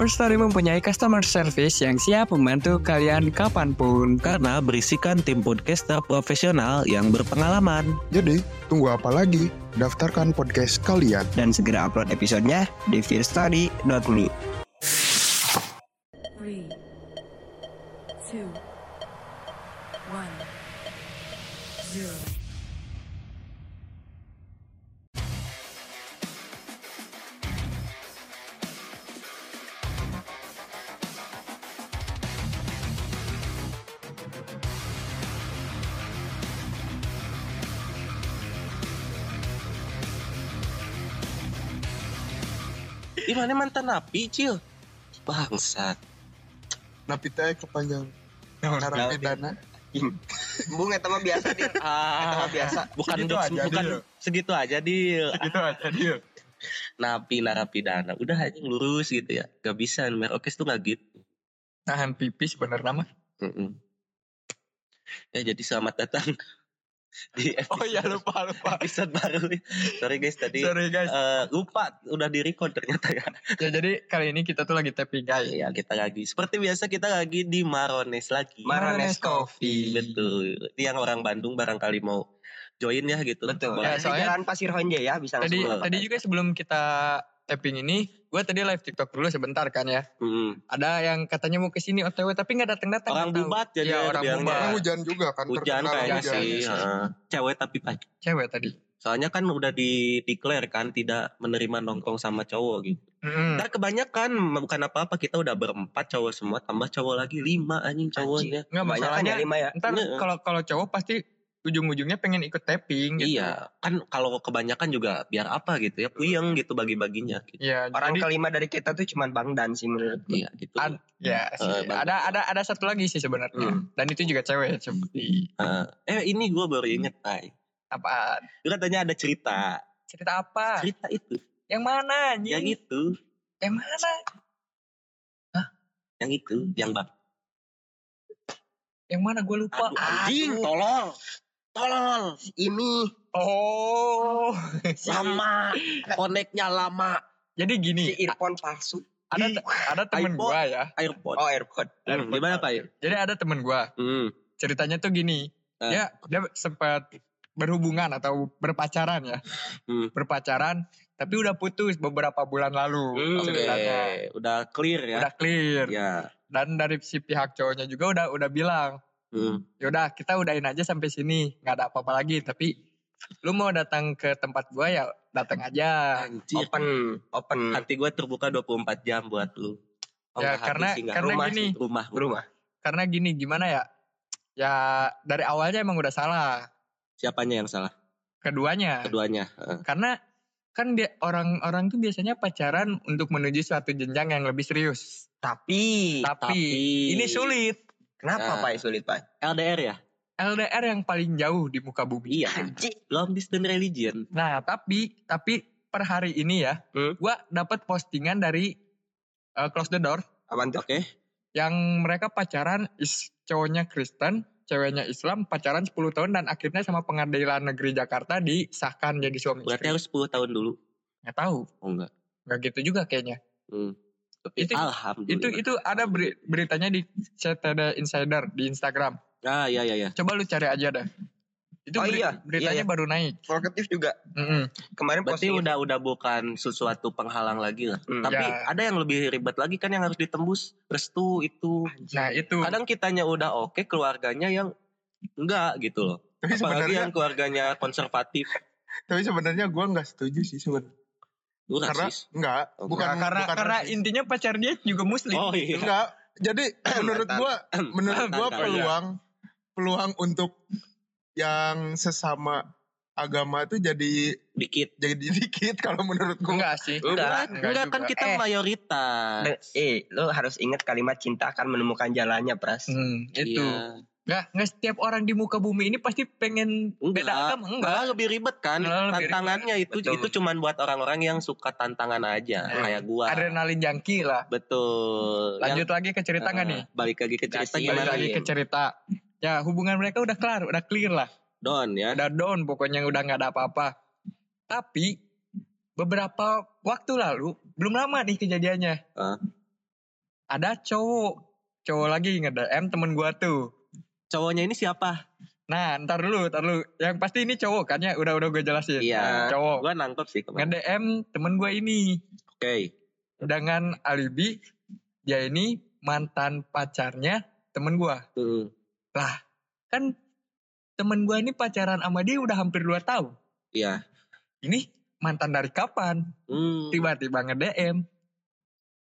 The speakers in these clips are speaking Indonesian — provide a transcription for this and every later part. First Story mempunyai customer service yang siap membantu kalian kapanpun. Karena berisikan tim podcaster profesional yang berpengalaman. Jadi, tunggu apa lagi? Daftarkan podcast kalian. Dan segera upload episodenya di fearstory.me. Three, two, one, zero. Di mana mantan napi, Cil? Bangsat. Napita kepanjang narapidana. Bung itu mah biasa dia, Ah, biasa. bukan Segitu jokes, aja, bukan Dil. segitu aja, Dil. gitu aja dia Napi narapidana. Udah aja lurus gitu ya. Gak bisa, Merokes tuh gak gitu. nahan pipis bener nama Mm-mm. Ya jadi selamat datang di oh iya lupa lupa episode baru. Sorry guys tadi sorry guys eh, lupa udah di record ternyata ya. ya jadi kali ini kita tuh lagi tapping guys Iya kita lagi seperti biasa kita lagi di Marones lagi. Marones Coffee. Betul. Ini yang orang Bandung barangkali mau join ya gitu. Betul. Ya, Boleh. soalnya- Jalan Pasir Honje ya bisa tadi langsung. Langsung. tadi juga sebelum kita tapping ini gue tadi live tiktok dulu sebentar kan ya Mm. ada yang katanya mau kesini otw tapi nggak datang datang Orang bubat jadi Iya, dia orang bilangnya. bubat. Karena hujan juga kan. Ah, Hujan terkenal kayaknya hujan. sih. Iya, heeh. Cewek tapi pagi. cewek tadi Soalnya kan udah di declare kan tidak menerima nongkrong sama cowok gitu. Mm-mm. Ntar kebanyakan bukan apa-apa kita udah berempat cowok semua tambah cowok lagi lima anjing cowoknya. nggak Banyak kan masalahnya ya lima ya. ntar Iya. kalau kalau cowok pasti ujung-ujungnya pengen ikut tapping gitu. Iya, kan kalau kebanyakan juga biar apa gitu ya, puyeng gitu bagi-baginya. Gitu. Iya, Orang jadi kelima dari kita tuh cuman Bang Dan sih menurut. Iya, gitu. Ad- ya sih. Hmm. Eh, bang- ada ada ada satu lagi sih sebenarnya. Dan itu juga cewek seperti Heeh. eh, ini gue baru inget, Tay. apa Lu katanya ada cerita. cerita Hmm. apa? Cerita itu, Yang mana? anjing? yang itu, Yang mana? yang itu, yang bak. Yang mana gue lupa. Aduh, anjing, tolong. Tolong, Ini Oh. lama. Koneknya lama. Jadi gini, si earphone palsu. ada te- ada temen iPod. gua ya. Airpod. Oh, AirPod. Hmm, gimana, Pak? Jadi ada temen gua. Hmm. Ceritanya tuh gini. Eh. Ya, dia sempat berhubungan atau berpacaran ya. Hmm. Berpacaran tapi udah putus beberapa bulan lalu Hmm, iya, ceritanya. Oke, udah clear ya. Hmm, Udah clear. Ya. Dan dari si pihak cowoknya juga udah udah bilang Hmm. yaudah Ya kita udahin aja sampai sini nggak ada apa-apa lagi tapi lu mau datang ke tempat gua ya datang aja Anjir. Open, open. Hati gue terbuka 24 jam buat lu. Ya, nggak hati karena- sih, nggak. karena rumah gini. sih, rumah, rumah. Rumah. karena gini gimana ya ya dari awalnya emang udah salah Siapanya yang salah? keduanya Keduanya. Heeh. karena kan dia orang-orang tuh biasanya pacaran untuk menuju suatu jenjang yang lebih serius Tapi, tapi, ini sulit kenapa Nah. ya, Pak sulit Pak? LDR ya? LDR yang paling jauh di muka bumi Iya. Long distance religion. nah tapi tapi per hari ini ya Hmm. gua dapat postingan dari eh, close the door Apaan tuh? Oke. Iya. yang mereka pacaran is cowoknya Kristen, ceweknya Islam, pacaran 10 tahun dan akhirnya sama pengadilan negeri Jakarta disahkan jadi suami Berarti istri. harus 10 tahun dulu. Nggak tahu, Oh enggak. nggak gitu juga kayaknya. Hmm. Tapi Itu- alhamdulillah. Itu itu ada beri- beritanya di CTD Insider di Instagram. Ah iya iya iya. Coba lu cari aja dah. Itu Oh beri- iya, beritanya iya, iya. baru naik. Forketif juga. Mm-mm. Kemarin Berarti posting udah udah bukan sesuatu penghalang lagi lah. Hmm. Tapi Ya. ada yang lebih ribet lagi kan yang harus ditembus restu itu. Nah, itu Kadang kitanya udah oke, keluarganya yang enggak gitu loh. Tapi Apalagi sebenarnya yang keluarganya konservatif. tapi sebenarnya gua nggak setuju sih sebenarnya. Lu Karena rasis. nggak, Oh, bukan Nah, karena bukan karena rasis. intinya pacar dia juga muslim. Oh iya. Enggak. Jadi menurut Mantan. gua menurut gua Mantan, peluang peluang untuk yang sesama agama tuh jadi dikit. jadi dikit kalau menurut gua. Enggak sih. Enggak, enggak enggak kan juga. kita Eh. mayoritas. Dan- eh, lo harus ingat kalimat cinta akan menemukan jalannya, Pras. Hmm, itu. Iya. Enggak, enggak setiap orang di muka bumi ini pasti pengen beda Enggak. agama, enggak. Malah lebih ribet kan Malah lebih ribet. tantangannya itu Betul. itu cuman buat orang-orang yang suka tantangan aja Nah, kayak gua. Adrenalin jangki lah. Betul. Lanjut lagi ke Yang- cerita enggak Eh, nih? Balik lagi ke cerita Kasih, gimana Balik lagi nih? ke cerita. Ya, hubungan mereka udah kelar, udah clear lah. Don ya. Udah down pokoknya udah nggak ada apa-apa. Tapi beberapa waktu lalu, belum lama nih kejadiannya. Hah? Ada cowok, cowok lagi nge-DM temen gua tuh. Cowoknya ini siapa? Nah, ntar dulu, ntar dulu. Yang pasti ini cowok kan ya, udah udah gue jelasin. Nah, Iya. Cowok. Gua nangkep sih Nge kemarin. DM temen gue ini Oke. dengan alibi dia ini mantan pacarnya temen gue. Hmm. Kan temen gue ini pacaran sama dia udah hampir 2 tahun. Iya. Ini mantan dari kapan? Hmm. Tiba-tiba nge DM.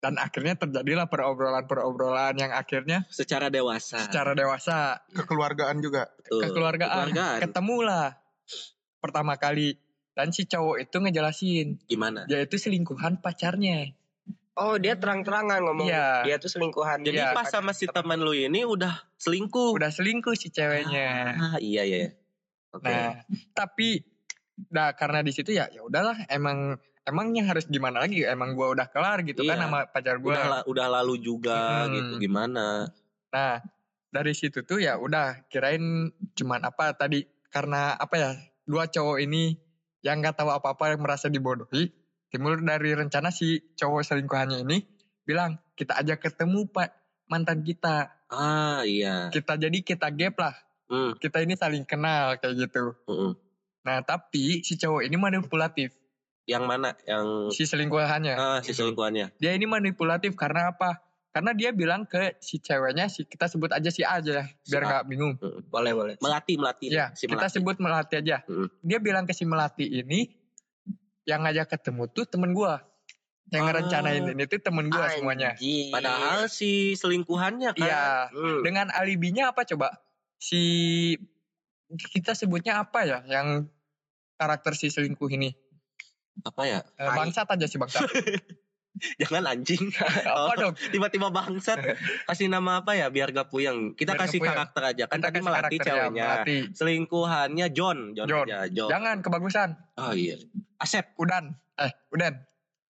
Dan akhirnya terjadilah perobrolan-perobrolan yang akhirnya Secara dewasa. secara dewasa Kekeluargaan juga. Betul. kekeluargaan, Kekeluargaan. ketemulah pertama kali. Dan si cowok itu ngejelasin Gimana? dia itu selingkuhan pacarnya. Oh, dia terang-terangan ngomong. Iya. Dia tuh selingkuhan. Jadi Iya. pas sama si teman lu ini udah selingkuh. Udah selingkuh si ceweknya. Ah, iya iya. iya. Oke. Nah, tapi nah karena di situ ya ya udahlah emang emangnya harus gimana lagi? Emang gua udah kelar gitu kan Iya. sama pacar udah gua. la- udah lalu juga Hmm. gitu gimana Nah, dari situ tuh ya udah kirain cuman apa tadi karena apa ya? Dua cowok ini yang nggak tahu apa-apa yang merasa dibodohi timbul dari rencana si cowok selingkuhannya ini bilang kita ajak ketemu Pak mantan kita. ah iya Kita jadi kita gap lah. Hmm, Kita ini saling kenal kayak gitu. mm-mm. Nah, tapi si cowok ini manipulatif, yang mana yang si selingkuhannya. ah, si selingkuhannya Dia ini manipulatif karena apa? Karena dia bilang ke si ceweknya, si kita sebut aja si A aja ya, Si biar A. nggak bingung. Boleh, boleh. melati melati Ya, Iya, si kita melati sebut Melati aja. Mm. Dia bilang ke si Melati ini, yang ngajak ketemu tuh temen gua. Yang Ah. iya. ngerencanain ini tuh temen gua semuanya. Anjing. padahal si selingkuhannya kan Iya. Hmm. Dengan alibinya apa coba? Si kita sebutnya apa ya yang karakter si selingkuh ini? apa ya Eh, Bangsat aja si bangsat. jangan anjing Oh, apa dong? tiba-tiba bangsat kasih nama apa ya biar gak puyeng kita Biar gak kasih puyeng. karakter aja kan Kita tadi kasih melati karakter ya, ceweknya Melati. selingkuhannya John John John. ya John Jangan kebagusan. oh iya Asep Udan. Eh, Udan.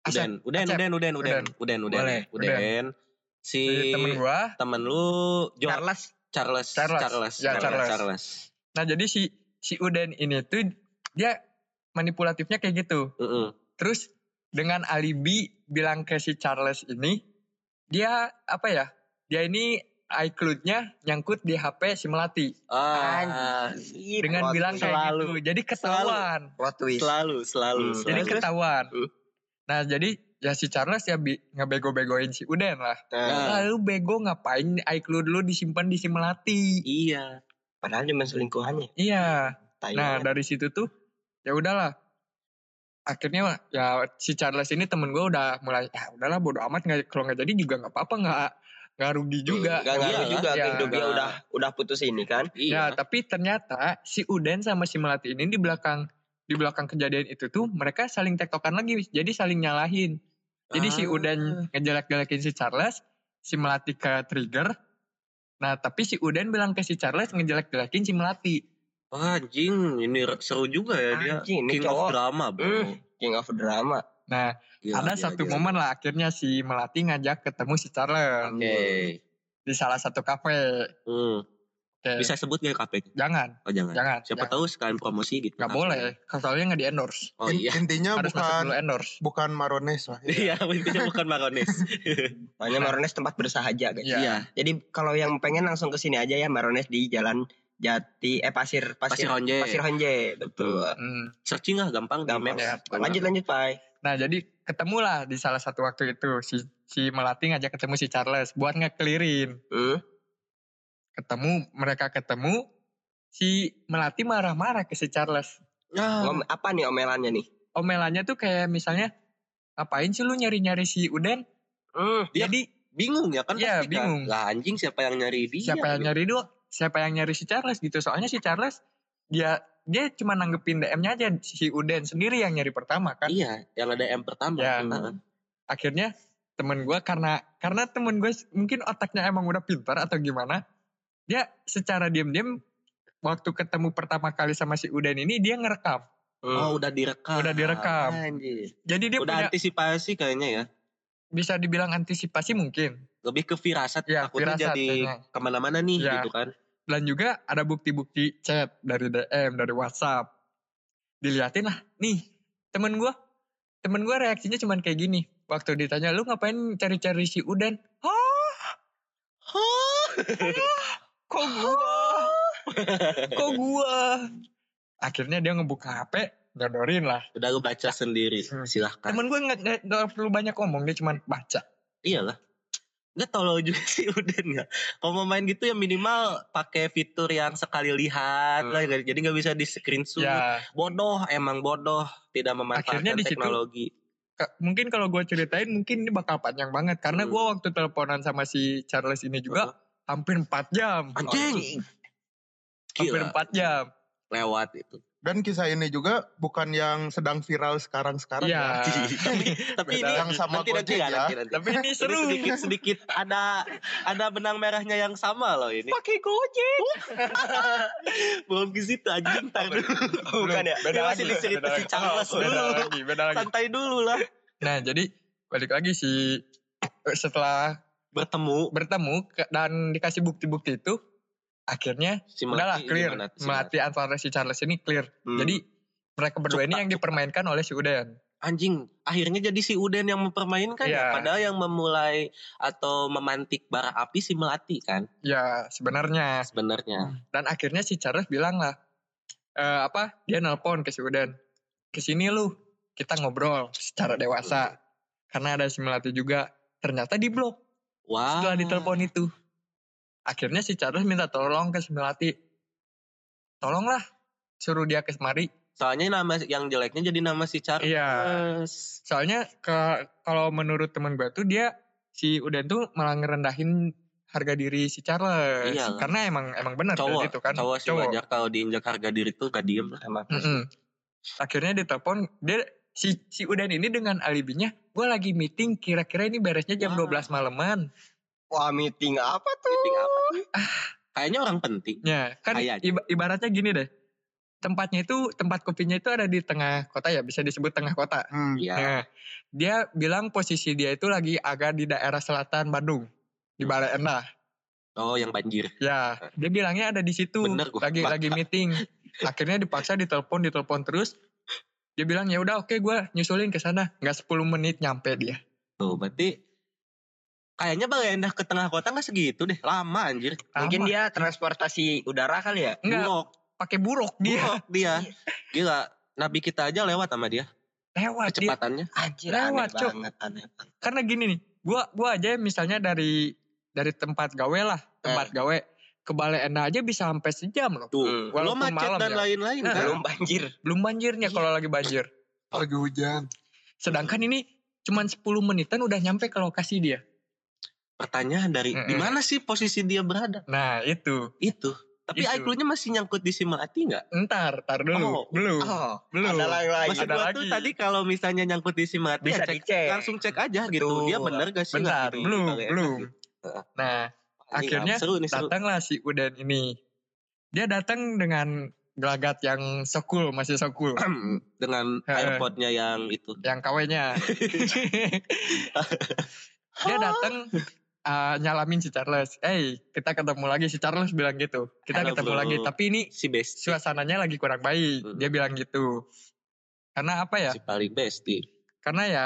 Asep. Uden Uden Asep. Uden Uden Uden Uden Uden Boleh, Uden si Jadi temen gua. temen lu John Charles. Charles Charles. Charles Ya, Charles. Charles. Nah, jadi si si Udan ini tuh dia manipulatifnya kayak gitu. Mm-mm. Terus dengan alibi bilang ke si Charles ini, dia apa ya? Dia ini iCloud-nya nyangkut di HP si Melati. Ah, Dengan Plot bilang twist. kayak Selalu. gitu. Jadi ketahuan. plot twist. selalu selalu Hmm. selalu. Jadi ketahuan. Hmm. Nah, jadi ya si Charles ya bi- ngebego-begoin si Udan lah. Nah, Ah. Lalu bego ngapain iCloud lu disimpan di si Melati. iya. padahal cuma selingkuhannya. Iya. Tai Nah banget. dari situ tuh ya udahlah. Akhirnya ya si Charles ini temen gue udah mulai ya udahlah bodo amat nggak kalau nggak jadi juga nggak apa-apa nggak Iya, nggak rugi juga. Gak ngaruh Iyalah, juga ya. ke hidup dia Nah. udah udah putus ini kan. Iya. Ya tapi ternyata si Uden sama si Melati ini di belakang di belakang kejadian itu tuh mereka saling tektokan lagi jadi saling nyalahin. Jadi si Ah. Uden ngejelek-jelekin si Charles, si Melati ke trigger. Nah tapi si Uden bilang ke si Charles ngejelek-jelekin si Melati. Wah, anjing, ini re- seru juga ya dia. Ah, Anjing, ini King cowok. of drama, bro. Hmm. King of drama. Nah Gila, ada gila, satu gila. momen lah akhirnya si Melati ngajak ketemu si Charles Oke. di salah satu kafe. Hmm. Oke, Bisa sebut gak KP? jangan, Oh, jangan. jangan. Siapa jangan. tahu sekalian promosi gitu. Gak Kafe. boleh, soalnya nggak di endorse. Oh In- iya. Intinya Harus masuk dulu bukan endorse. bukan marones lah. Iya, intinya bukan maronis. Makanya Marones tempat bersahaja guys. Iya. Jadi kalau yang pengen langsung ke sini aja ya Marones di Jalan Jati eh Pasir Pasti Pasir ronje. Pasir Honje. Betul. Hmm. Searching lah gampang, di Gampang. Maps. ya. Lanjut lanjut Pai. Nah jadi ketemulah di salah satu waktu itu si si Melati ngajak ketemu si Charles buat ngekelirin. Hmm? Ketemu mereka ketemu si Melati marah-marah ke si Charles. Nah, Ngom- apa nih omelannya nih? Omelannya tuh kayak misalnya ngapain sih lu nyari-nyari si Uden? Hmm. Dia Jadi bingung ya kan Iya, pasti kan? bingung. Lah anjing siapa yang nyari dia? gitu. siapa yang nyari dulu? siapa yang nyari si Charles gitu soalnya si Charles dia dia cuma nanggepin DM-nya aja si Uden sendiri yang nyari pertama kan Iya, LDM pertama. Ya. Heeh. akhirnya temen gue karena karena temen gue mungkin otaknya emang udah pintar atau gimana dia secara diam-diam waktu ketemu pertama kali sama si Uden ini dia ngerekam Oh, udah direkam. Hmm. Udah direkam. Anjir. jadi dia iya. udah punya antisipasi kayaknya ya. bisa dibilang antisipasi mungkin Lebih ke firasat Ya, takutnya firasat jadi kayaknya. kemana-mana nih Ya. gitu kan. dan juga ada bukti-bukti chat dari DM dari WhatsApp diliatin lah nih temen gue temen gue reaksinya cuman kayak gini waktu ditanya lu ngapain cari-cari si Uden hah hah Alah, kok gua kok gua akhirnya dia ngebuka HP nyodorin lah Udah lu baca sendiri, Hmm. silahkan. temen gue nggak nggak- nggak perlu banyak ngomong dia cuman baca Iyalah. Nggak tolol juga sih Uden ya. Kalau mau main gitu ya minimal pakai fitur yang sekali lihat Hmm. lah. Jadi nggak bisa di screenshot. ya Bodoh, emang bodoh. Tidak memanfaatkan Akhirnya di situ- teknologi. ke- mungkin kalau gue ceritain mungkin ini bakal panjang banget karena Hmm. gue waktu teleponan sama si Charles ini juga hampir 4 jam Anjing. hampir Gila, 4 jam lewat itu. Dan kisah ini juga bukan yang sedang viral sekarang-sekarang Iya. ya. Beda. Tapi ini Yang sama nanti Gojek nanti ya, ya. nanti nanti. tapi ini Ini seru sedikit sedikit ada ada benang merahnya yang sama loh ini. Pakai Gojek. Belum ke situ anjing tar dulu. Bukan ya. Ini Oh, masih lagi, beda dicerita si lagi. Charles Oh, beda dulu. lagi beda lagi Santai dulu lah. nah jadi balik lagi si setelah Bertemu bertemu ke- dan dikasih bukti-bukti itu akhirnya si udahlah clear gimana? Si Melati. melatih antara si Charles ini clear Hmm. jadi mereka berdua Cukta, ini yang cukta. dipermainkan oleh si Uden anjing akhirnya jadi si Uden yang mempermainkan Iya. ya padahal yang memulai atau memantik bara api si Melati kan Nah, ya sebenarnya sebenarnya. dan akhirnya si Charles bilang lah eh, apa dia nelpon ke si Uden ke sini lu kita ngobrol secara Hmm. dewasa karena ada si Melati juga ternyata di blok Wah. setelah ditelepon itu akhirnya si Charles minta tolong ke si Melati tolonglah suruh dia ke semari Soalnya nama yang jeleknya jadi nama si Charles. iya soalnya ke kalau menurut teman gue tuh dia si Uden tuh malah ngerendahin harga diri si Charles Iyalah. karena emang emang benar cowok gitu kan cowok sih wajar kalau diinjak harga diri tuh gak diem lah emang Mm-mm. Akhirnya ditelepon dia si si Udan ini dengan alibinya gue lagi meeting kira-kira ini beresnya jam Wah. 12 malaman. Wah meeting apa tuh? Meeting Oh. apa sih? Ah, kayaknya orang penting Ya, kan Kayaknya. iba- ibaratnya gini deh. Tempatnya itu tempat kopinya itu ada di tengah kota ya, bisa disebut tengah kota. Hmm. Iya. Nah, dia bilang posisi dia itu lagi agak di daerah selatan Bandung di Balai Endah. oh yang banjir Ya, dia bilangnya ada di situ. Bener gua, Lagi Bang. lagi meeting. Akhirnya dipaksa ditelepon, ditelepon terus. Dia bilang ya udah oke gua nyusulin ke sana. Enggak 10 menit nyampe dia. tuh berarti kayaknya Balai Endah ke tengah kota nggak segitu deh lama anjir Mungkin Lama. dia transportasi udara kali ya? Enggak. Bulog pakai buruk dia Bulog dia gila nabi kita aja lewat sama Iya. dia lewat dia. kecepatannya Anjir Lewat, Cok. banget aneh. Karena gini nih, gua gua aja misalnya dari dari tempat gawe lah, Eh. tempat gawe ke Balai Endah aja bisa sampai sejam loh. tuh lo Walaupun macet malam dan ya. lain-lain Nah. kan Belum banjir. Belum Iya. banjirnya kalau lagi banjir. Lagi hujan. Sedangkan ini cuman 10 menitan udah nyampe ke lokasi dia. pertanyaan dari Mm-mm. di mana sih posisi dia berada Nah, itu. itu tapi Itu. clue-nya masih nyangkut di Simalati nggak Entar, tar dulu. Oh. belum, Oh, belum. ada lain lain. Maksud ada gua lagi. tuh tadi kalau misalnya nyangkut di Simalati Bisa ya cek- dicek. langsung cek aja gitu. Betul. Dia bener gak sih? Bentar, lagi di belum, Balai Endah belum. gitu? Heeh. Nah, Anjing, Akhirnya seru nih seru. datanglah si Uden ini. Dia datang dengan gelagat yang sokul, masih sokul. Dengan Heeh. airpodnya yang itu. yang kawenya. dia datang uh, nyalamin si Charles. Eh, kita ketemu lagi si Charles bilang gitu. Kita Halo, ketemu bro. lagi, tapi ini Si best. suasananya lagi kurang baik. Dia bilang gitu. Karena apa ya? Si paling best. iya. di- Karena ya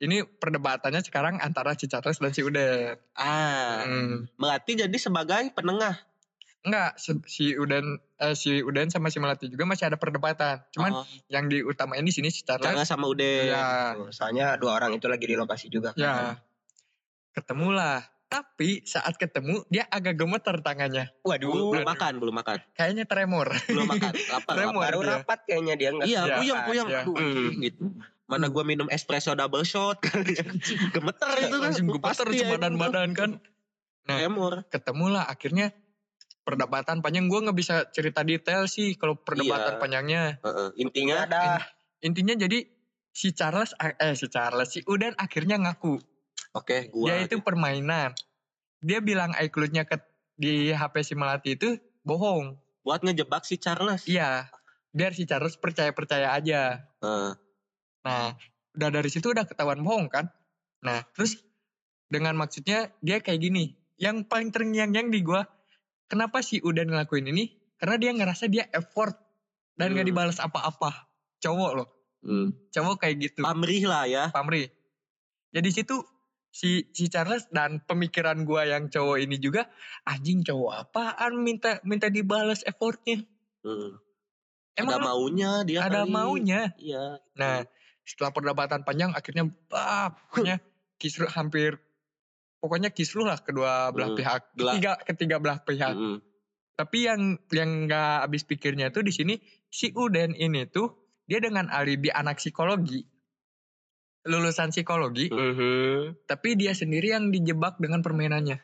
ini perdebatannya sekarang antara si Charles dan si Uden. Ah, Hmm. Melati jadi sebagai penengah. Enggak, se- si Uden eh, si Uden sama si Melati juga masih ada perdebatan. Cuman Oh, yang diutamain di sini si Charles. Jangan sama Ude. Ya, Soalnya Kan, dua orang itu lagi di lokasi juga. kan? Ya. Ketemulah. Tapi saat ketemu dia agak gemeter tangannya. Waduh. Belum, belum Waduh. makan, belum makan, Kayaknya tremor. belum makan, lapar, Tremor. lapar. Baru Iya. rapat kayaknya dia nggak. Iya, Iya, puyeng, puyeng, iya. aduh, gitu. Mm. Mana gua minum espresso double shot, kan. gemeter itu kan, Langsung gemeter Pasti badan-badan kan. Tremor. Ketemulah akhirnya perdebatan panjang gue nggak bisa cerita detail sih kalau perdebatan Iya. panjangnya Heeh, intinya Ada. intinya jadi si Charles eh si Charles si Udan akhirnya ngaku oke gua dia Ya, itu permainan dia bilang iCloud-nya ke di HP si Melati itu bohong buat ngejebak si Charles iya biar si Charles percaya percaya aja Heeh. nah Hmm. udah dari situ udah ketahuan bohong kan nah terus dengan maksudnya dia kayak gini yang paling terngiang-ngiang di gua kenapa si Udan ngelakuin ini karena dia ngerasa dia effort dan nggak Hmm. dibalas apa-apa cowok loh Hmm. cowok kayak gitu pamrih lah ya Pamri. Jadi situ si si Charles dan pemikiran gua yang cowok ini juga anjing cowok apaan minta minta dibales effortnya. Heeh. Hmm, ada Emang lu maunya dia ada, kali. maunya. iya Nah, setelah perdebatan panjang akhirnya bah, pokoknya kisruh hampir pokoknya kisruh lah kedua belah Hmm, pihak, gelak. ketiga ketiga belah pihak. Heeh. Tapi yang yang nggak habis pikirnya tuh di sini si Uden ini tuh dia dengan alibi anak psikologi lulusan psikologi Mm-hmm. Mhm. tapi dia sendiri yang dijebak dengan permainannya.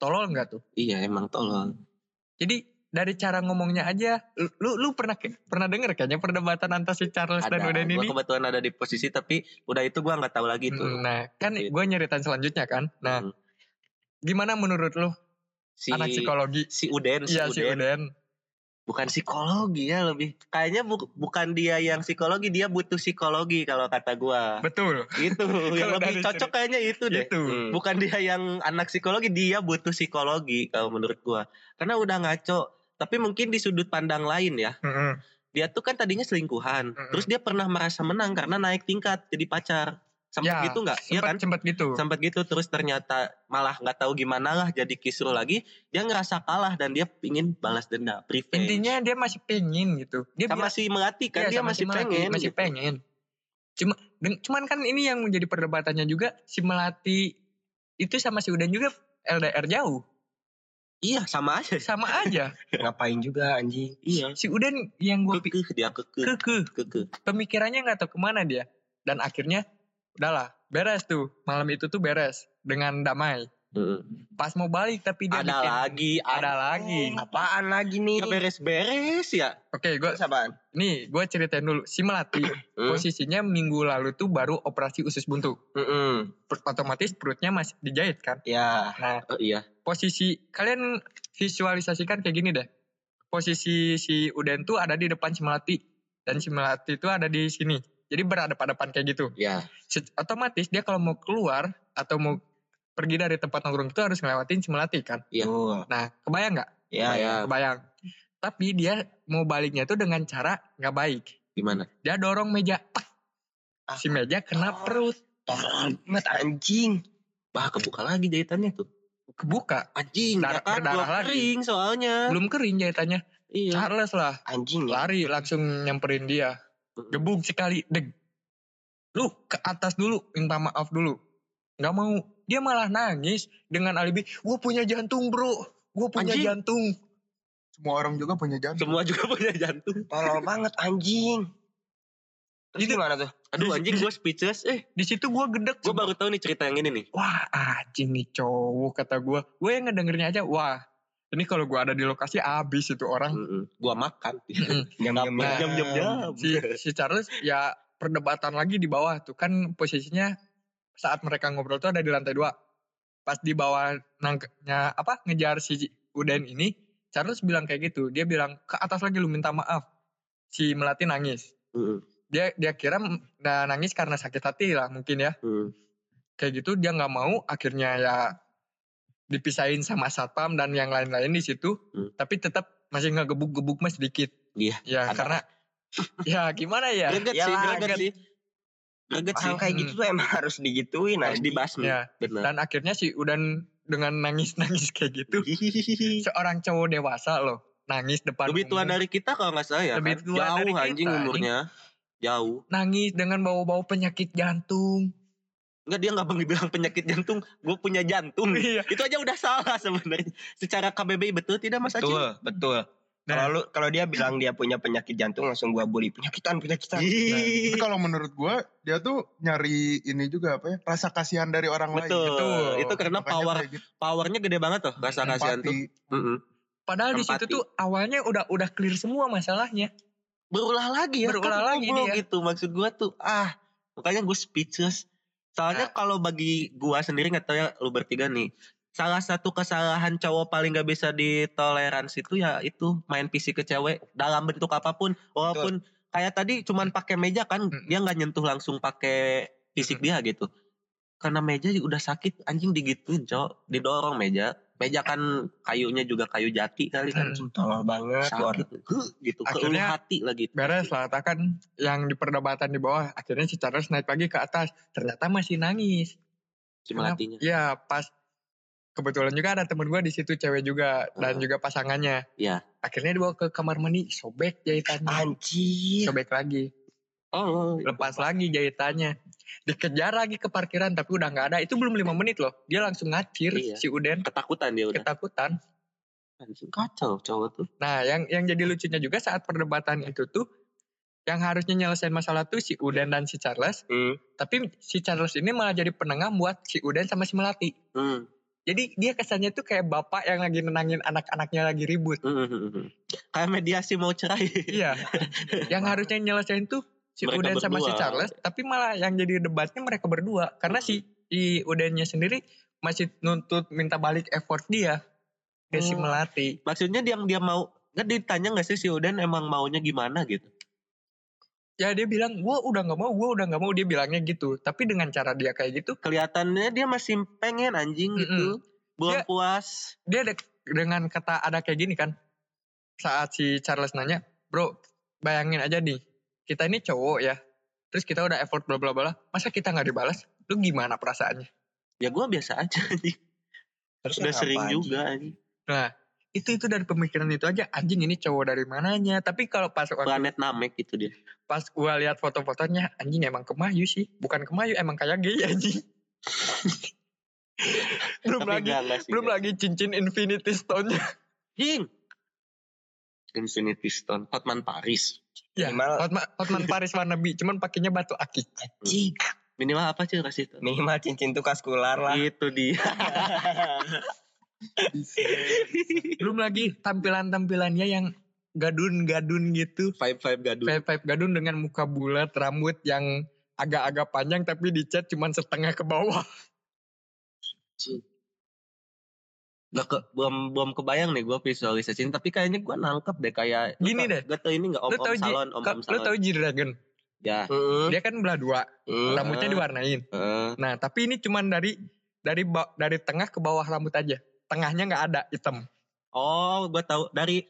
Tolol nggak tuh? iya emang Hmm. tolong Jadi dari cara ngomongnya aja, lu lu, lu pernah ke- pernah denger kayaknya perdebatan antara si Charles dan ada Udan gua ini? kebetulan ada di posisi tapi udah itu gua nggak tahu lagi tuh Nah, kan Gitu. gue nyeritain selanjutnya kan. Nah, Mhm. gimana menurut lu si anak psikologi? si Uden si Iya si Uden Uden. bukan psikologi ya lebih kayaknya bu- bukan dia yang psikologi dia butuh psikologi kalau kata gua Betul. gitu Kalau yang lebih dari Gitu. cocok cerita- kayaknya itu deh Itu. Hmm. bukan dia yang anak psikologi dia butuh psikologi kalau menurut gua karena udah ngaco tapi mungkin di sudut pandang lain ya Mm-mm. dia tuh kan tadinya selingkuhan Mm-mm. terus dia pernah merasa menang karena naik tingkat jadi pacar sempet Ya, gitu nggak Iya Sempet kan sempet gitu. sempet gitu terus ternyata malah nggak tahu gimana lah jadi kisruh lagi dia ngerasa kalah dan dia ingin balas dendam revenge Intinya dia masih pingin gitu. Dia sama bilang, si melati kan Iya, dia sama masih si Melati, pengen masih gitu. pengen. Cuma deng- cuman kan ini yang menjadi perdebatannya juga si Melati itu sama si Udan juga LDR jauh. iya sama aja Sama aja. Ngapain juga anjing? iya si Udan yang gue pikir kekeh dia kekeh keke kekeh pemikirannya nggak tahu kemana dia dan akhirnya udahlah beres tuh malam itu tuh beres dengan damai Heeh. pas mau balik tapi dia ada bikin lagi ada anjing. lagi Eh, Apaan lagi nih? nggak beres-beres ya oke gue Terus apaan? nih gue ceritain dulu si melati Hmm. posisinya minggu lalu tuh baru operasi usus buntu Mm-mm. Per- otomatis perutnya masih dijahit kan Ya, nah Oh, iya posisi kalian visualisasikan kayak gini deh posisi si Uden tuh ada di depan si Melati dan si Melati itu ada di sini jadi berhadapan-hadapan kayak gitu ya Se- otomatis dia kalau mau keluar atau mau pergi dari tempat nongkrong itu harus ngelewatin si Melati kan Iya. Tuh. nah kebayang nggak ya, ya. ya kebayang tapi dia mau baliknya tuh dengan cara nggak baik gimana dia dorong meja Pak! si meja kena perut Tolong banget anjing. bah kebuka lagi jahitannya tuh kebuka anjing Darah- ya kan berdarah belum lagi. kering soalnya belum kering jahitannya iya Charles lah Anjing ya. lari langsung nyamperin dia gebuk sekali deg lu ke atas dulu minta maaf dulu nggak mau dia malah nangis dengan alibi gue punya jantung bro gue punya Anjing. jantung Semua orang juga punya jantung. semua juga punya jantung Tolong banget anjing. Terus Itu- gimana tuh? aduh anjing gue speechless eh di situ gue gedek gue baru tahu nih cerita yang ini nih wah anjing nih cowok kata gue gue yang ngedengernya aja wah ini kalau gue ada di lokasi abis itu orang gue makan Nyam-nyam Nah, nyam nyam nyam si si Charles ya perdebatan lagi di bawah tuh kan posisinya saat mereka ngobrol tuh ada di lantai dua pas di bawah nangkepnya apa ngejar si Uden ini Charles bilang kayak gitu dia bilang ke atas lagi lu minta maaf si Melati nangis Mm-mm. dia dia kira m- nah, nangis karena sakit hati lah mungkin ya Mm. kayak gitu dia nggak mau akhirnya ya dipisahin sama satpam dan yang lain-lain di situ Hmm. tapi tetap masih ngegebuk-gebuk mas sedikit Iya. ya Ada. karena ya gimana ya greget sih Iyalah, greget anjing. sih greget sih Orang kayak gitu tuh emang harus digituin harus anjing. dibasmi Ya, benar dan akhirnya si Udan dengan nangis-nangis kayak gitu, seorang cowok dewasa loh, nangis depan lebih tua umum, dari kita kalau nggak salah ya Lebih kan? tua jauh dari kita, anjing anjing. umurnya jauh nangis dengan bau-bau penyakit jantung. Enggak dia nggak bilang penyakit jantung gue punya jantung Iya. itu aja udah salah sebenarnya secara KBBI betul tidak mas Acil Betul, betul. Nah. Kalau lu kalau dia bilang dia punya penyakit jantung langsung gua bully penyakitan penyakitan. Ih, Tapi kalau menurut gua dia tuh nyari ini juga apa ya? Rasa kasihan dari orang lain. betul. Gitu. Betul. itu karena Makanya power kayak gitu, powernya gede banget tuh rasa kasihan empati. tuh Mm-mm. Padahal di situ Empati. tuh awalnya udah udah clear semua masalahnya. berulah lagi ya Berulah kan lagi goblok dia. gitu maksud gua tuh ah makanya gue speechless soalnya Nah. kalau bagi gua sendiri nggak tahu ya lu bertiga nih salah satu kesalahan cowok paling gak bisa ditoleransi itu ya itu main PC ke cewek dalam bentuk apapun walaupun kayak tadi cuman pakai meja kan Mm-mm. dia nggak nyentuh langsung pakai fisik dia gitu karena meja ya udah sakit anjing digituin cowok didorong meja meja kan kayunya juga kayu jati kali kan Mm. Tolol banget. Bor. sakit huh, gitu ke ulu Akhirnya hati lagi Beres lah, kan yang di perdebatan di bawah. Akhirnya si Charles naik lagi ke atas. Ternyata masih nangis. si melatinya Iya, pas kebetulan juga ada temen gue di situ cewek juga dan Ah. juga pasangannya. Iya. Akhirnya dibawa ke kamar mandi, sobek Nah. jahitannya. anjir Sobek lagi. oh lepas lagi jahitannya dikejar lagi ke parkiran tapi udah nggak ada itu belum lima menit loh dia langsung ngacir Iya. si Uden ketakutan dia udah ketakutan anjing kacau cowok tuh nah yang yang jadi lucunya juga saat perdebatan itu tuh yang harusnya nyelesain masalah tuh si Uden dan si Charles Hmm. tapi si Charles ini malah jadi penengah buat si Uden sama si Melati Hmm. jadi dia kesannya tuh kayak bapak yang lagi nenangin anak-anaknya lagi ribut Hmm. kayak mediasi mau cerai iya yang harusnya nyelesain tuh si Mereka Uden sama si berdua. Charles tapi malah yang jadi debatnya mereka berdua karena si si Udennya sendiri masih nuntut minta balik effort dia ke si Hmm. Melati maksudnya dia dia mau nggak ditanya nggak sih si Udan emang maunya gimana gitu ya dia bilang gua udah nggak mau gua udah nggak mau dia bilangnya gitu tapi dengan cara dia kayak gitu kelihatannya dia masih pengen anjing gitu Dia- belum puas dia de- dengan kata ada kayak gini kan saat si Charles nanya bro bayangin aja nih kita ini cowok ya terus kita udah effort bla bla bla masa kita nggak dibalas lu gimana perasaannya ya gue biasa aja anjing Terus udah kenapa, sering anjing? juga anjing itu itu dari pemikiran itu aja anjing ini cowok dari mananya tapi kalau pas planet Namek gitu dia pas gua lihat foto-fotonya anjing emang kemayu sih bukan kemayu emang kayak gay anjing belum Tapi lagi nggak, nggak sih, ya. belum nggak. lagi cincin infinity stone-nya Hing Infinity Stone Hotman Paris ya Minimal- Hotman, Hotman Paris wannabe cuman pakainya batu akik Anjing. Hmm. minimal apa sih kasih itu Minimal cincin tuh kaskular lah. itu dia belum lagi tampilan-tampilannya yang gadun-gadun gitu vibe vibe gaduh vibe gadun dengan muka bulat rambut yang agak-agak panjang tapi dicat cuman setengah ke bawah Gak ke, belum belum kebayang nih gue visualisasiin tapi kayaknya gue nangkep deh kayak Gini deh. Gak tau ini gak om Lu om tahu Ji- salon om om lo tau salon. G-Dragon Ya. dia kan belah dua rambutnya diwarnain. Heeh. Nah, tapi ini cuman dari dari ba- dari tengah ke bawah rambut aja. Tengahnya nggak ada hitam. Oh gue tahu dari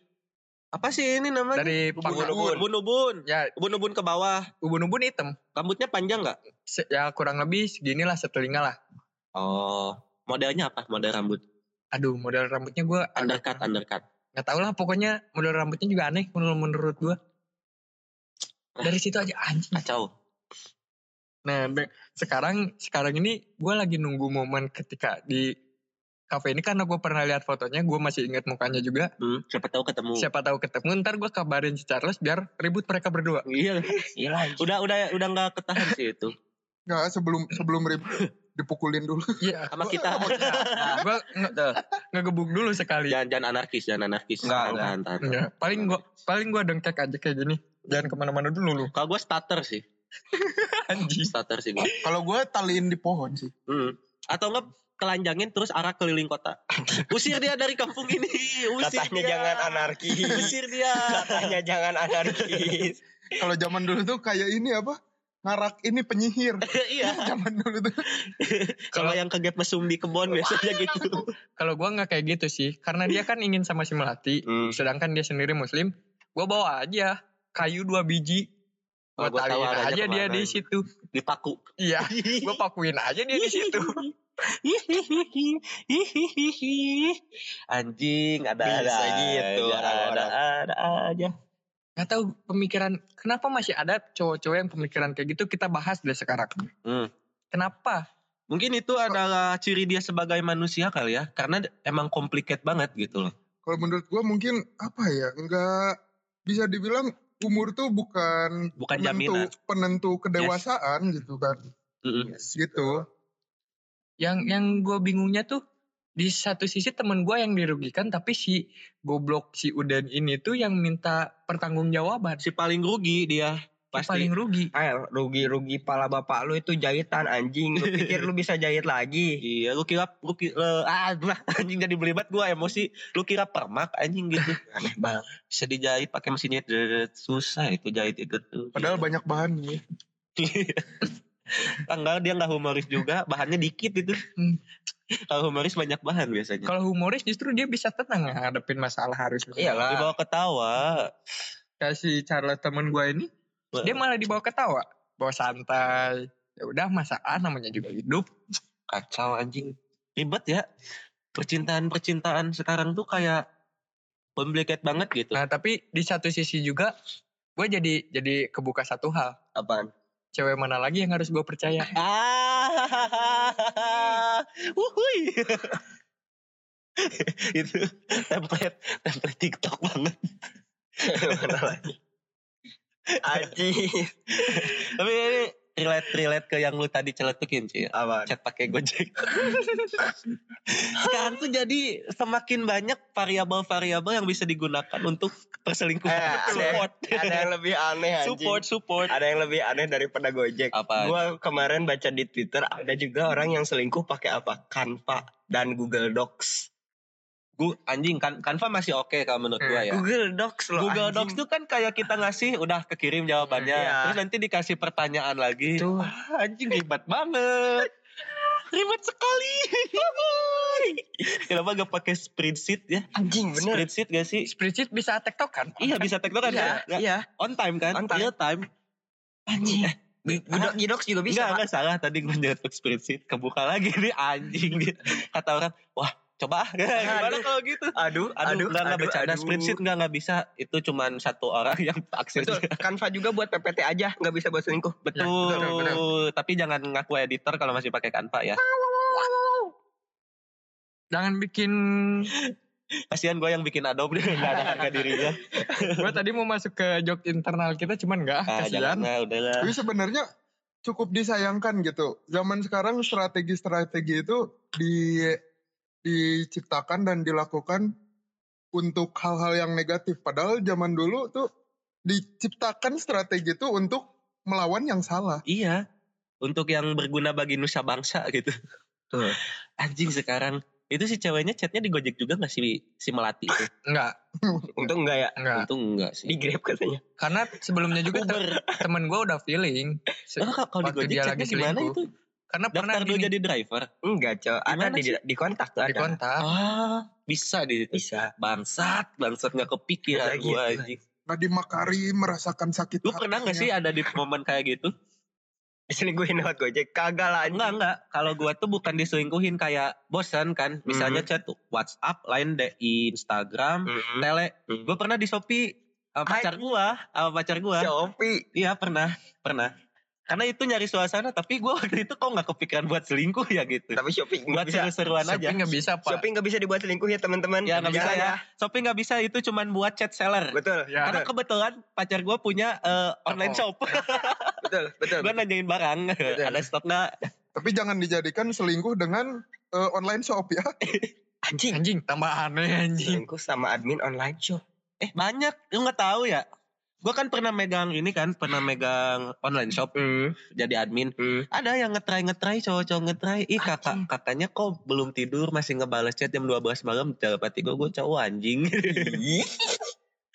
apa sih ini namanya? Dari ubun pangkal- ubun ubun ubun ya ubun ubun ke bawah. ubun-ubun hitam. Rambutnya panjang nggak? Se- ya kurang lebih seginilah setelinga lah. Oh modelnya apa? Model rambut Aduh, model rambutnya gue undercut undercut. nggak tahu lah. Pokoknya model rambutnya juga aneh menurut menurut gue. Dari situ aja anjing. Kacau. Nah, be- sekarang sekarang ini gue lagi nunggu momen ketika di kafe ini karena gue pernah lihat fotonya, gue masih ingat mukanya juga. Hmm, siapa tahu ketemu. Siapa tahu ketemu, ntar gue kabarin si Charles biar ribut mereka berdua. Iya. Gila anjing. Udah udah udah nggak ketahan sih itu. Enggak, sebelum sebelum rib- dipukulin dulu. Iya, Nah, Sama kita. gue ngegebuk dulu sekali. Jangan jangan anarkis jangan anarkis. Nggak, Tahan, nggak. tahan, tahan. Iya, paling gua paling gua dengkek aja kayak gini. Jangan kemana-mana dulu lu. Kalau gue starter sih Anjing. starter sih gue. Kalau gue taliin di pohon sih. Hmm. Atau enggak telanjangin terus arah keliling kota. Usir dia dari kampung ini. Usir Katanya dia. jangan anarkis. Usir dia. Katanya jangan anarkis. Kalau zaman dulu tuh kayak ini apa? Ngarak ini penyihir. iya. Zaman dulu tuh. Kalau ya yang ke gap mesum di kebon biasanya gitu. Kalau gua nggak kayak gitu sih, karena dia kan ingin sama si Melati, Hmm. sedangkan dia sendiri muslim. Gua bawa aja kayu dua biji. Oh, Gua gua tahu taliin arahnya aja dia kemana. di situ. Dipaku. Iya, gua pakuin aja dia di situ. Anjing ada ada Bisa aja, gitu ada orang-orang. ada aja. Gak tahu pemikiran kenapa masih ada cowok-cowok yang pemikiran kayak gitu kita bahas deh sekarang. Hmm. Kenapa? Mungkin itu adalah ciri dia sebagai manusia kali ya, karena d- emang complicated banget gitu loh. Kalau menurut gue mungkin apa ya? Enggak bisa dibilang umur tuh bukan Bukan jaminan. penentu penentu kedewasaan gitu kan. Mm-mm. Gitu. Yang yang gue bingungnya tuh di satu sisi temen gue yang dirugikan tapi si goblok si Uden ini tuh yang minta pertanggungjawaban si paling rugi dia pasti pasti paling rugi Ah, rugi-rugi pala bapak lu itu jahitan anjing. Lu pikir lu bisa jahit lagi? Iya, lu kira lu kira, ah aduh, anjing jadi belibet gua emosi. Lu kira permak anjing gitu. Aneh banget. Bisa dijahit pakai mesin jahit deret, susah itu jahit itu tuh. Padahal banyak bahan nih. Iya. Ah, Enggak, dia enggak humoris juga, bahannya dikit itu. Hmm. Kalau humoris banyak bahan biasanya. kalau humoris justru dia bisa tenang ngadepin masalah harusnya Dibawa ketawa. kayak si Charles temen gue ini Wah. dia malah dibawa ketawa bawa santai ya udah masa ah namanya juga hidup Kacau anjing. Ribet ya. Percintaan-percintaan sekarang tuh kayak complicated banget gitu. nah tapi di satu sisi juga gue jadi jadi kebuka satu hal Apaan? cewek mana lagi yang harus gue percaya Ah, wuhui. itu template template TikTok banget. Anjing. Tapi ini relate relate ke yang lu tadi celetukin sih. Apa? Chat pakai Gojek. Sekarang tuh jadi semakin banyak variabel-variabel yang bisa digunakan untuk perselingkuhan. Eh, support, Ada yang lebih aneh anjing. support, support. Ada yang lebih aneh daripada Gojek. Apa? Gua kemarin baca di Twitter ada juga orang yang selingkuh pakai apa? Canva dan Google Docs. Gu- anjing kan Canva masih oke kalau menurut gua ya. Hmm. Google Docs loh. Google anjing. Docs tuh kan kayak kita ngasih udah kekirim jawabannya, Iya. terus nanti dikasih pertanyaan lagi. Tuh. Wah, anjing ribet banget. ribet sekali. Kenapa gak pakai spreadsheet ya? anjing bener. Spreadsheet gak sih? spreadsheet bisa tektok kan Iya bisa tektokan Iya, ya? Nggak- iya. On time kan? On time. Real time. Anjing. Google Docs juga bisa. Enggak, enggak salah tadi gue nyetok spreadsheet, kebuka lagi nih anjing dia. Kata orang, "Wah, coba ah." gimana Aduh. kalau gitu? Aduh, Aduh, enggak enggak bercanda aduh. spreadsheet enggak enggak bisa. Itu cuman satu orang yang Betul, Nah, aksesnya. Canva juga buat PPT aja, nggak bisa buat selingkuh. Betul. betul, betul. Tapi jangan ngaku editor kalau masih pakai Canva ya. jangan bikin Kasihan gue yang bikin Adobe dia nggak ada harga dirinya. gue tadi mau masuk ke joke internal kita cuman nggak ah, Ah, kasihan jangan lah, udahlah. Tapi sebenarnya cukup disayangkan gitu. Zaman sekarang strategi-strategi itu di diciptakan dan dilakukan untuk hal-hal yang negatif. Padahal zaman dulu tuh diciptakan strategi itu untuk melawan yang salah. Iya. Untuk yang berguna bagi nusa bangsa gitu. Tuh. Anjing sekarang. Itu si ceweknya chatnya di Gojek juga gak sih si Melati? itu? nggak Nah. Untung enggak ya nggak Untung enggak di sih. Grab kan. katanya. karena sebelumnya juga te- Uber. temen gue udah feeling Se- Emang kalau di waktu Gojek dia chatnya lagi gimana selingkuh. itu? karena pernah Daftar dulu gini, jadi driver. Enggak, Cok. Ada Gimana di, di kontak tuh ada. di kontak Ah, bisa di situ. Bisa. gitu, Bangsat, bangsat gak kepikiran Lagi, gue lagi. anjing. Nadiem Makarim merasakan sakit Lu pernah gak sih ya? hatinya. ada di momen kayak gitu? Diselingkuhin lewat Gojek. Kagak lah Enggak, anjing. enggak. Kalau gua tuh bukan diselingkuhin kayak bosan kan. Misalnya Mm-hmm. chat tuh WhatsApp, lain DI, Instagram, Mm-mm. Tele. Mm. Gua pernah di Shopee sama Hai. pacar gua, sama pacar gua. Shopee. Iya, pernah, pernah. Karena itu nyari suasana, tapi gua waktu itu kok nggak kepikiran buat selingkuh ya gitu. Tapi Shopee Buat nggak bisa. seru-seruan tapi aja. nggak bisa pak Shopee nggak bisa dibuat selingkuh ya teman-teman. Ya, nggak bisa Jangan ya. Shopee nggak bisa itu cuman buat chat seller. Betul, Ya. Karena kebetulan pacar gua punya eh, online shop. betul, betul. gua nanyain barang, Betul. ada stok nggak? Tapi jangan dijadikan selingkuh dengan eh, online shop ya. Anjing. anjing tambah aneh anjing Selingkuh sama admin online shop. Eh banyak, lu nggak tahu ya? Gue kan pernah megang ini kan, pernah megang online shop jadi admin. Hmm. Ada yang ngetrai ngetrai, cowok-cowok ngetrai. Ih kakak, kakaknya kok belum tidur masih ngebales chat jam 12 malam. Dalam hati gue, gue cowok anjing.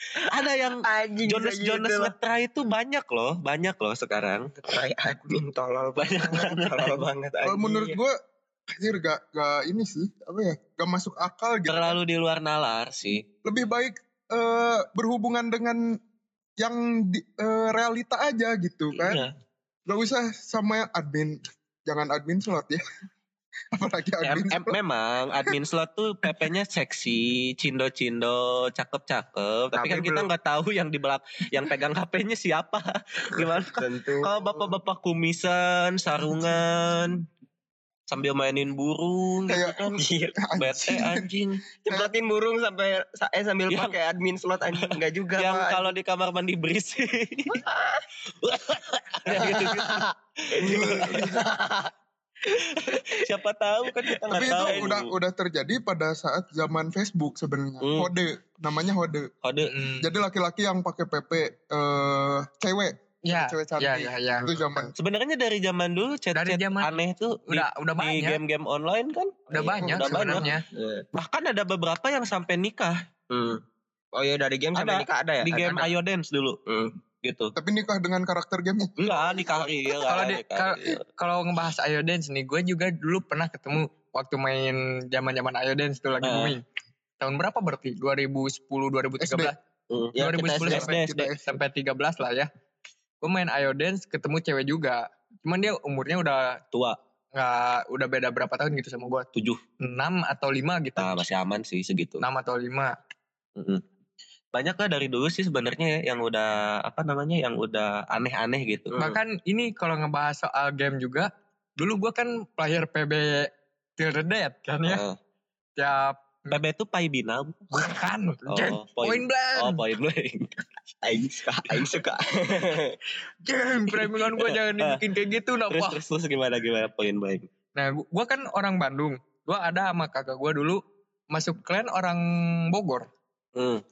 Ada yang Anjing. Jonas bisa gitu Jonas lah. ngetrai itu banyak loh, banyak loh sekarang. Tai admin tolol banget. Banyak banget. tolol banget anjing. Kalau menurut gue, anjir gak, gak ini sih, apa ya, gak masuk akal gitu. Terlalu di luar nalar sih. Lebih baik eh, berhubungan dengan yang di- eh, realita aja gitu kan. Iya. Gak usah sama yang admin, jangan admin slot ya. Apalagi Em- admin em- slot. memang admin slot tuh PP-nya seksi, cindo-cindo, cakep-cakep. Tapi, Tapi kan kita belum. nggak tahu yang di belak, yang pegang HP-nya siapa. Gimana? Tentu. Kalau bapak-bapak kumisan, sarungan, sambil mainin burung, gitu Kayak, kan. Iya. Bete anjing. anjing. Jemplatin burung sampai sa- eh sambil Yang- pakai admin slot anjing enggak juga Yang Pak. kalau di kamar mandi Ya berisi. gitu. Yang gitu-gitu. Siapa tahu kan kita Tapi nggak itu tahu. udah udah terjadi pada saat zaman Facebook sebenarnya. Hmm. Hode, namanya hode. kode. Jadi laki-laki yang pakai PP eh cewek, Ya, cewek ya, cantik. ya, ya. Itu zaman Sebenarnya dari zaman dulu chat-chat Dari zaman- aneh tuh di- Udah, udah di, banyak, game-game online kan udah banyak udah banyak. sebenarnya. bahkan ada beberapa yang sampai nikah Oh iya dari game Hmm. Ada. sampai nikah ada ya? di game Ada. Ayo Dance dulu. Hmm. Gitu. tapi nikah dengan karakter gamenya. Enggak, Iya. nikah real. Kalau di- nikah kalau- real. Kalau ngebahas Ayo Dance nih, gue juga dulu pernah ketemu waktu main zaman-zaman Ayo Dance tuh lagi Ah. booming. Tahun berapa berarti? 2010, 2013. Hmm. Ya, kita 2010 SD. SD, sampai, SD. sampai 13 lah ya. Gue main Ayo Dance ketemu cewek juga. Cuman dia umurnya udah Tua, nggak udah beda berapa tahun gitu sama gue. tujuh. 6 atau 5 gitu. Nah, masih aman sih segitu. 6 atau 5. Mm-mm. Banyak lah dari dulu sih sebenarnya ya, yang udah apa namanya yang udah aneh-aneh gitu. Bahkan ini kalau ngebahas soal game juga, dulu gue kan player PB Till the Dead kan ya. Heeh. Tiap PB Eh, itu pai binam. bukan, Jack, Oh, point blank. Oh, poin blank. Aing suka, Aing suka. Jeng, framingan gue jangan dibikin kayak gitu nah, terus Pak. terus terus gimana gimana poin blank. Nah, gu- gua kan orang Bandung. Gua ada sama kakak gua dulu masuk klan orang Bogor. Hmm.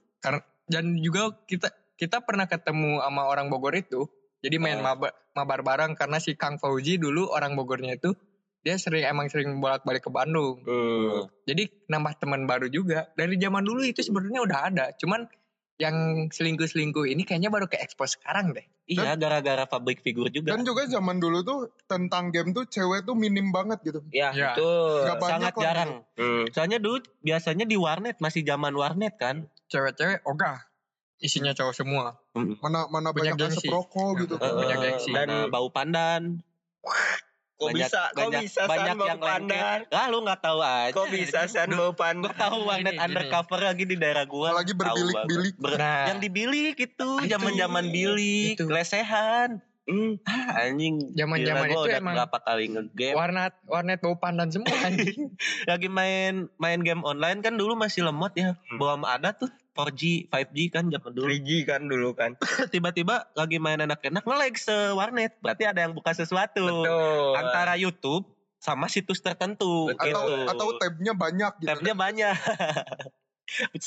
Dan juga kita kita pernah ketemu sama orang Bogor itu. Jadi main Ah. mabar, mabar bareng karena si Kang Fauzi dulu orang Bogornya itu dia sering emang sering bolak-balik ke Bandung. Jadi nambah teman baru juga. Dari zaman dulu itu sebenarnya udah ada. Cuman yang selingkuh-selingkuh ini kayaknya baru ke expose sekarang deh. Iya, gara-gara public figure juga. Dan juga zaman dulu tuh tentang game tuh cewek tuh minim banget gitu. Ya, Ya. itu Nggak banyak Sangat lah jarang. gitu. Hmm. Soalnya dulu biasanya di warnet masih zaman warnet kan. Cewek-cewek ogah isinya cowok semua. Mana mana Punya banyak gengsi. asap rokok Ya, gitu. betul. Banyak Eh, gengsi. mana Dan- bau pandan. Nah. kok Banyak- bisa, kok banyak- bisa banyak san mau yang lengket. pandan? Lah lu nggak tahu aja. Kok bisa san mau Gue pandan? tahu warnet Gini, gini. undercover lagi di daerah gua. Apalagi Tahu berbilik-bilik. banget. Ber- Nah. yang di bilik itu, Ah, Itu. zaman-zaman iya. bilik, Itu. lesehan. Hmm, ah, anjing. Zaman-zaman Gila, gua itu udah emang- berapa kali ngegame. warnet warnet bau pandan semua anjing. Lagi main main game online kan dulu masih lemot ya. Hmm. Belum ada tuh 4G, 5G kan zaman dulu. 3G kan dulu kan. Tiba-tiba lagi main enak-enak nge-lag se warnet. Berarti ada yang buka sesuatu. Betul. Antara YouTube sama situs tertentu Betul. Atau gitu. atau tabnya banyak gitu. Tabnya banyak.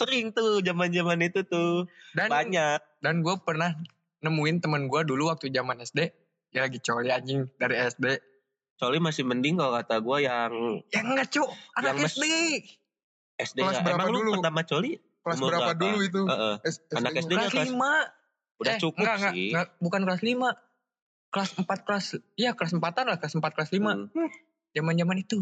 Sering tuh zaman-zaman itu tuh Dan Kan- banyak. dan gue pernah nemuin temen gue dulu waktu zaman SD dia lagi coli anjing dari SD. Soalnya masih mending kalau kata gue yang Ya enggak cuk, anak Yang mes- SD. SD Kelas ya. berapa Emang lu dulu? pertama coli? Kelas umur berapa berapa? dulu itu? Heeh. S- Anak SD. SD -nya Kelas kelas- 5. Udah Eh, cukup enggak, enggak, sih. enggak, bukan kelas 5. Kelas 4 kelas iya kelas 4-an lah, kelas 4 kelas 5. Hmm. Zaman-zaman itu.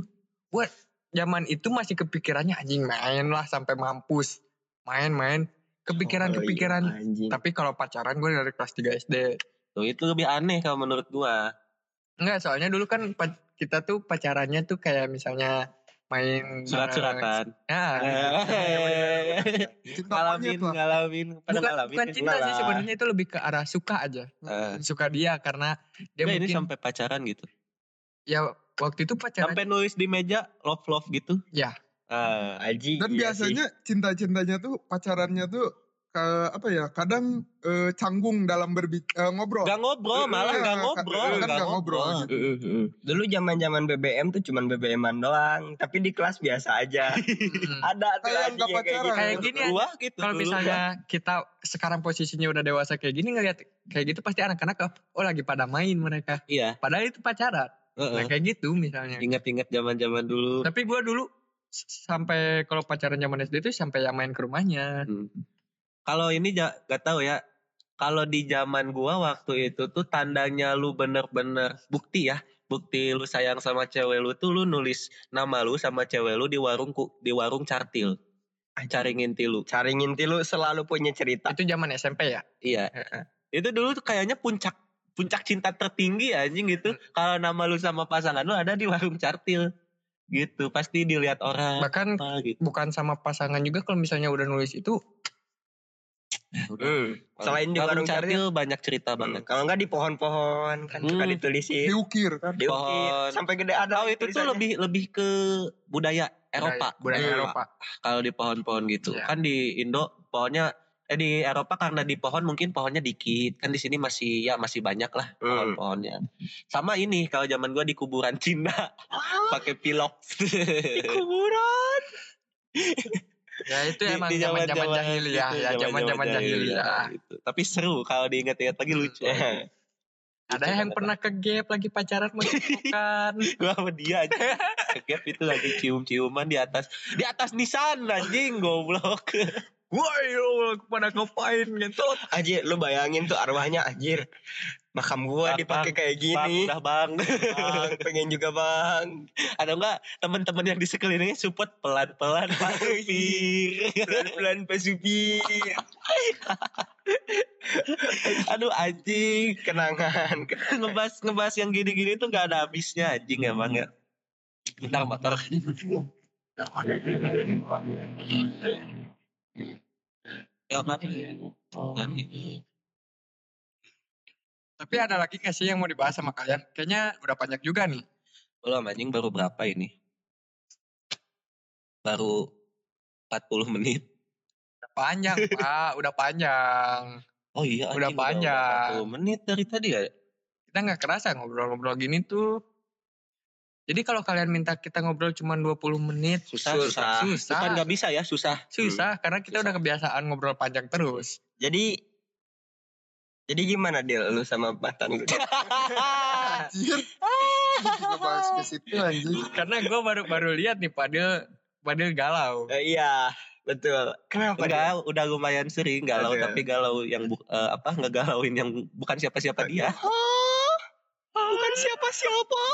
Buat zaman itu masih kepikirannya anjing main lah sampai mampus. Main-main Oh, kepikiran-kepikiran. iya, Anjing. Tapi kalau pacaran gue dari kelas 3 SD. Tuh itu lebih aneh kalau menurut gua. Enggak, soalnya dulu kan pac- kita tuh pacarannya tuh kayak misalnya main Surat-suratan. Eh, Nah, Cinta ngalamin, monyet lah. ngalamin. Pada bukan, ngalamin. bukan cinta Enggak sih lah. sebenarnya itu lebih ke arah suka aja. Eh. Suka dia karena dia Enggak, Iya, ini Ya, mungkin sampai pacaran gitu. ya waktu itu pacaran Sampai nulis di meja love love gitu. Ya. Eh, Anjing. Dan iya biasanya cinta-cintanya tuh pacarannya tuh ke- apa ya? Kadang eh, canggung dalam berbicara ngobrol. Gak ngobrol, malah Iya, gak kan- ngobrol, kan gak nggak ngobrol ngobrol. gitu. Mm, mm. Dulu zaman-zaman BBM tuh cuman BBM-an doang, tapi di kelas biasa aja. Hmm. Ada tuh Kayak lagi nggak pacaran. kayak gini aja. Gua gitu. Kalau dulu, gua. misalnya kita sekarang posisinya udah dewasa kayak gini ngeliat kayak gitu pasti anak-anak oh lagi pada main mereka. iya, Padahal itu pacaran. Nah, heeh. kayak gitu misalnya. ingat-ingat zaman-zaman dulu. Tapi gue dulu s- sampai kalau pacaran zaman SD itu sampai yang main ke rumahnya. Kalau ini ja- gak tahu ya. Kalau di zaman gua waktu itu tuh tandanya lu bener-bener bukti ya, bukti lu sayang sama cewek lu tuh lu nulis nama lu sama cewek lu di warung ku- di warung cartil. Caringin tilu. Cari nginti lu selalu punya cerita. Itu zaman SMP ya. Iya. Itu dulu tuh kayaknya puncak puncak cinta tertinggi anjing gitu. Hmm. Kalau nama lu sama pasangan lu ada di warung cartil. Gitu, pasti dilihat orang Bahkan apa gitu. bukan sama pasangan juga kalau misalnya udah nulis itu Iya, Mm. Selain di warung cartil, cartil banyak cerita Hmm. banget. Nah, kalau nggak di pohon-pohon kan suka Hmm. ditulisin. Diukir. Diukir. Pohon. Sampai gede ada. Oh itu tuh tulisannya. lebih lebih ke budaya Eropa. budaya, budaya Hmm. Eropa. Kalau di pohon-pohon gitu. Iya. Kan di Indo pohonnya eh, di Eropa karena di pohon mungkin pohonnya dikit kan di sini masih ya masih banyak lah Hmm. pohon pohonnya sama ini kalau zaman gua di kuburan Cina pakai pilok Kuburan. Ya itu Di- emang di zaman-zaman zaman-zaman jahiliyah gitu, ya, zaman-zaman jahiliyah. gitu. tapi seru kalau diingat-ingat lagi lucu Iya. aja. Ada Lucu yang banget. pernah ke gap lagi pacaran mau bukan. gua sama dia aja kegap itu lagi cium-ciuman di atas di atas nisan anjing goblok Woi, lu pada ngapain ngentot? Anjir, lu bayangin tuh arwahnya anjir. Makam gua Bang, dipakai kayak bang gini. udah bang Bang, pengen juga bang. ada enggak teman-teman yang di sekelilingnya support pelan-pelan Pak Supir. Pelan-pelan Pak Supir. aduh anjing Kenangan. ngebahas ngebahas yang gini-gini tuh nggak ada habisnya anjing emang ya bentar motor ya maaf Tapi ada lagi nggak sih yang mau dibahas sama kalian? Kayaknya udah banyak juga nih. belum anjing baru berapa ini baru 40 menit Udah panjang, Pak. Udah panjang. oh iya Udah anjing panjang. 40 menit dari tadi ya Kita nggak kerasa ngobrol-ngobrol gini tuh. Jadi kalau kalian minta kita ngobrol cuma 20 menit, susah susah, susah, Ah. bukan susah, nggak bisa ya susah susah karena kita Susah. udah kebiasaan ngobrol panjang terus. Jadi jadi gimana Del lu sama mantan lu? Anjir. Ngebahas ke situ anjir. Karena gue baru baru lihat nih Padil Padil galau. Eh, iya, betul. Kenapa? Del? Enggak, udah lumayan sering galau Ada. tapi galau yang bu- eh, apa ngegalauin yang bukan siapa-siapa dia. bukan siapa-siapa.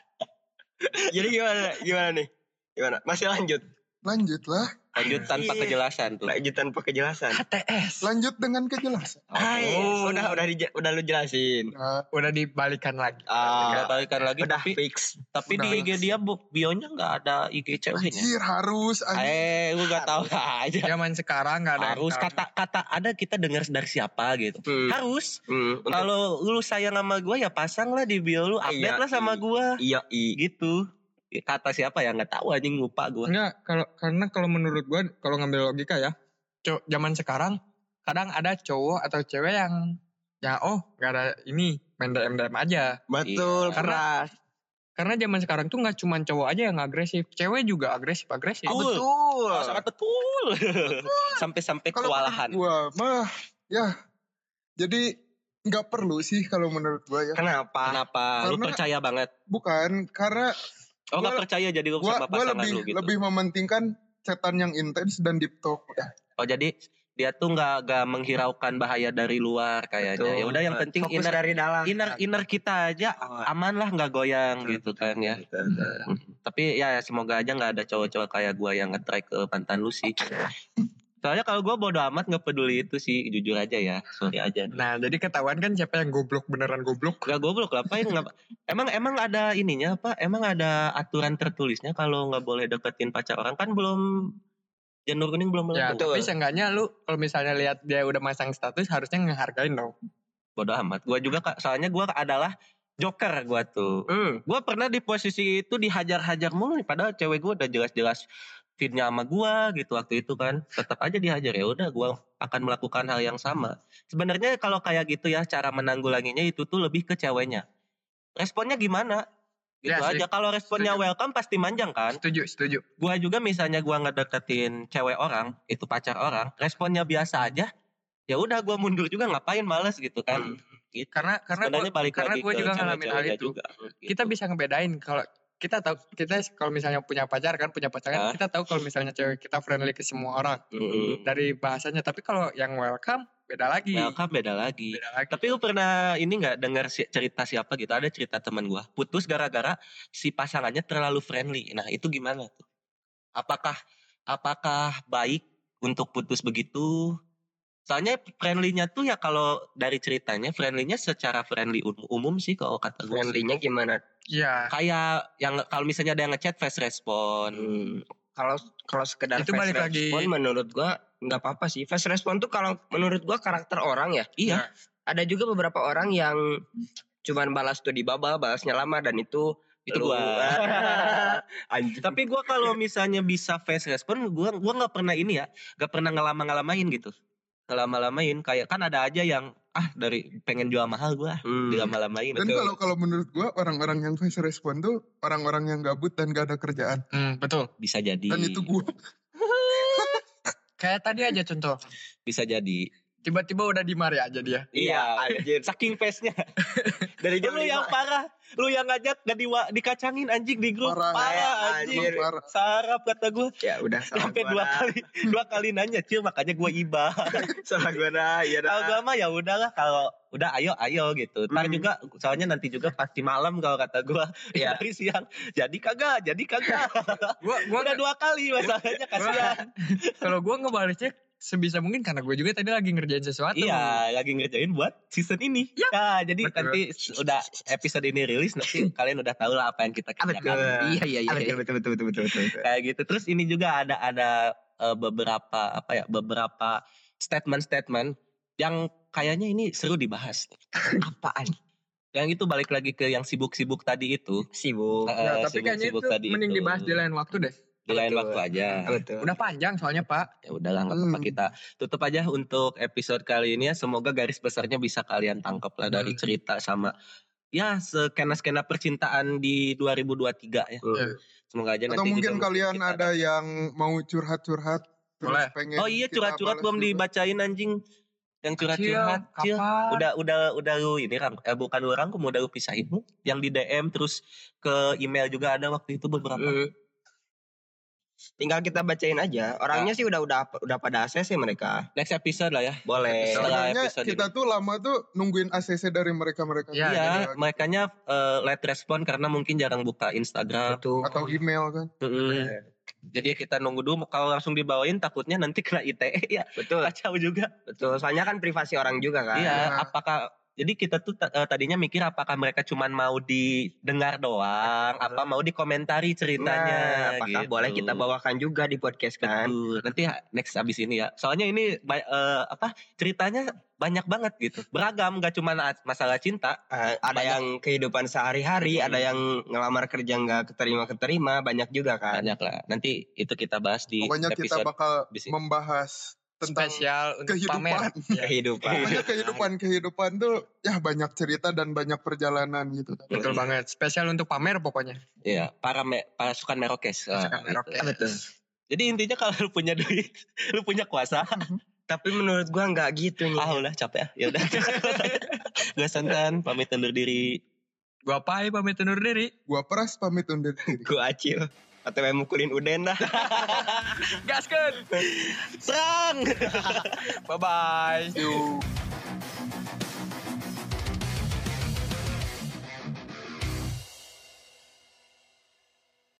Jadi gimana? Gimana nih? Gimana? Masih lanjut? Lanjutlah. Lanjut tanpa Iya. kejelasan tuh. Lanjut tanpa kejelasan. HTS. Lanjut dengan kejelasan. Hai, Oh. udah udah dij- udah lu jelasin. Nah, Udah dibalikan lagi. Ah, Ah, balikan lagi udah tapi fix. tapi Udah. di Iya, IG dia bu- bionya nggak ada IG ceweknya. anjir harus anjir. Eh, gua nggak Iya, tahu aja. Zaman sekarang nggak ada yang Harus tahu. kata-kata ada kita dengar dari siapa gitu. Hmm, Harus hmm, untuk- kalau lu sayang sama gua ya pasang lah di bio lu, update Iya, lah iya. sama gua iya, i. gitu. Kata siapa ya nggak tahu anjing lupa gua. Enggak, kalau karena kalau menurut gua kalau ngambil logika ya, co- zaman sekarang kadang ada cowok atau cewek yang ya oh nggak ada ini main DM DM aja. Betul, Iya. karena Karena zaman sekarang tuh nggak cuma cowok aja yang agresif, cewek juga agresif agresif. Betul. betul. Oh, sangat betul. Eh, Sampai-sampai Kalau kewalahan. Wah, mah ya. Jadi nggak perlu sih kalau menurut gua ya. Kenapa? Kenapa? Lu Karena- percaya banget. Bukan karena Oh, Gua- gak percaya jadi lu gua sama gua pasangan lebih lu gitu. lebih mementingkan cetan yang intens dan deep talk ya. udah. Oh, jadi dia tuh gak, nggak menghiraukan bahaya dari luar kayaknya. Ya udah yang penting fokus inner dari dalam. inner inner kita aja aman lah nggak goyang gitu kan ya. Tapi ya semoga aja nggak ada cowok-cowok kayak gua yang nge-track ke mantan lu sih. Soalnya kalau gua bodo amat nggak peduli itu sih jujur aja ya. Sorry aja. Nah, jadi ketahuan kan siapa yang goblok beneran goblok. Gak goblok ngapain ngapa- Emang emang ada ininya apa? Emang ada aturan tertulisnya kalau nggak boleh deketin pacar orang kan belum janur kuning belum Ya, melengkung. tapi seenggaknya lu kalau misalnya lihat dia udah masang status harusnya ngehargain dong. Bodoh amat. Gua juga Kak, soalnya gua adalah joker gua tuh. Hmm. Gua pernah di posisi itu dihajar-hajar mulu nih, padahal cewek gua udah jelas-jelas fitnya sama gua gitu waktu itu kan. Tetap aja dihajar ya udah gua akan melakukan hal yang sama. Sebenarnya kalau kayak gitu ya cara menanggulanginya itu tuh lebih ke ceweknya. Responnya gimana? Gitu Ya, aja. Kalau responnya Setuju. welcome pasti manjang kan? Setuju, setuju. gua juga misalnya gua ngedeketin cewek orang itu pacar orang responnya biasa aja ya udah gua mundur juga ngapain males gitu kan gitu. Karena Hmm. karena gua, Sebenarnya balik karena lagi gua ke juga ngalamin hal cewek-ceweknya itu. juga, gitu. kita bisa ngebedain kalau kita tahu kita kalau misalnya punya pacar kan punya pasangan Ah. kita tahu kalau misalnya cewek kita friendly ke semua orang Hmm, Mm-mm. dari bahasanya tapi kalau yang welcome beda lagi Hmm. welcome beda lagi beda lagi tapi lu pernah ini nggak dengar si- cerita siapa gitu ada cerita teman gua putus gara-gara si pasangannya terlalu friendly nah itu gimana tuh apakah apakah baik untuk putus begitu soalnya friendly-nya tuh ya kalau dari ceritanya friendly-nya secara friendly um- umum sih kalau kata gue Friendly-nya gimana? iya kayak yang kalau misalnya ada yang ngechat fast respon Hmm, Kalau kalau sekedar Itu fast balik lagi. respon menurut gua nggak apa-apa sih. Fast respon tuh kalau menurut gua karakter orang ya. iya Ada juga beberapa orang yang cuman balas tuh di baba, balasnya lama dan itu itu lu- gua Anjing. tapi gua kalau misalnya bisa fast respon gua gua nggak pernah ini ya nggak pernah ngelama ngelamain gitu lama-lamain kayak kan ada aja yang ah dari pengen jual mahal gua Hmm. dilama-lamain Dan kalau kalau menurut gua orang-orang yang fast respond tuh orang-orang yang gabut dan gak ada kerjaan. Hmm, betul. bisa jadi Dan itu gua. Kayak tadi aja contoh. bisa jadi Tiba-tiba udah di Maria aja dia. iya anjir. saking pesnya dari jam lu yang lima. parah lu yang ngajak gak diwa, dikacangin anjing di grup Parah. parah, Emang anjing parah. sarap kata gua Ya udah salah sampai gua dua dah. kali dua kali nanya cil makanya gua iba Salah gua dah. Iya dah. kalau gua mah ya udahlah kalau udah ayo ayo gitu ntar Hmm. juga soalnya nanti juga pasti malam kalau kata gua Iya. dari siang jadi kagak jadi kagak Gua gua udah dua kali masalahnya kasihan kalau gua ngebalasnya sebisa mungkin karena gue juga tadi lagi ngerjain sesuatu. Iya, lagi ngerjain buat season ini. Iya. Ya, jadi Betul. nanti udah episode ini rilis nanti kalian udah tahu lah apa yang kita kerjakan. Betul. Iya, iya, iya. Ah, betul, betul, betul, betul, betul, betul, betul. Kayak gitu. Terus ini juga ada ada eh, beberapa apa ya? Beberapa statement-statement yang kayaknya ini seru dibahas. Apaan? Yang itu balik lagi ke yang sibuk-sibuk tadi itu. Sibuk. Eh, Ya, tapi kayaknya itu sibuk-sibuk tadi mending itu. dibahas di lain waktu deh. Di lain Gitu. Betul. waktu aja. Betul. Udah panjang soalnya Pak. Ya udahlah nggak apa-apa Hmm. kita tutup aja untuk episode kali ini ya. Semoga garis besarnya bisa kalian tangkap lah dari Hmm. cerita sama ya skena-skena percintaan di 2023 ya. Hmm. Semoga aja Iya. Atau nanti mungkin juga kalian kita ada yang mau curhat-curhat terus Boleh. pengen Oh kita iya gitu. curhat-curhat balas belum juga. dibacain anjing. Yang curhat-curhat Cil, Cil. kapan? Udah udah udah lu ini Ram. Eh, bukan lu rangkum udah lu pisahin yang di DM terus ke email juga ada waktu itu beberapa. Hmm. Mm. Tinggal kita bacain aja. Orangnya Ya. sih udah udah udah pada ACC mereka. Next episode lah ya. Boleh. Setelah Sebenarnya episode kita tuh lama tuh nungguin ACC dari mereka-mereka Iya, iya, juga gitu. makanya eh, late respon karena mungkin jarang buka Instagram. Betul. atau Iya. email kan. Mm-mm. Jadi kita nunggu dulu kalau langsung dibawain takutnya nanti kena ITE ya Betul. kacau juga. Betul. Soalnya kan privasi orang juga kan. Iya, Iya. apakah jadi kita tuh ta- eh, tadinya mikir apakah mereka cuman mau didengar doang, apa mau Nah, dikomentari ceritanya apakah gitu. boleh kita bawakan juga di podcast kan? Betul. Nanti ya, next abis ini ya. Soalnya ini ba- eh, apa ceritanya banyak banget gitu. Beragam gak cuma masalah cinta. Eh, ada Banyak. yang kehidupan sehari-hari, Mm. ada yang ngelamar kerja nggak keterima-keterima, banyak juga kan. Banyak lah. Nanti itu kita bahas di Pokoknya kita episode bakal abis ini. membahas tentang Spesial untuk kehidupan. pamer. Iya. Kehidupan. Pokoknya kehidupan-kehidupan tuh ya banyak cerita dan banyak perjalanan gitu. Betul Mm-mm. banget. Spesial untuk pamer pokoknya. Iya, para me, pasukan Merokes. Ah, Pasukan gitu. Iya, Merokes. Betul. Jadi intinya kalau lu punya duit, lu punya kuasa, Tapi menurut gua nggak gitu nih. ah udah capek ya. Ya udah. Gue santan pamit undur diri. Gua Pai pamit undur diri. Gua peras pamit undur diri. Gua acil. Atau yang mukulin Uden lah. Gaskeun. Serang. Bye bye. Yuk.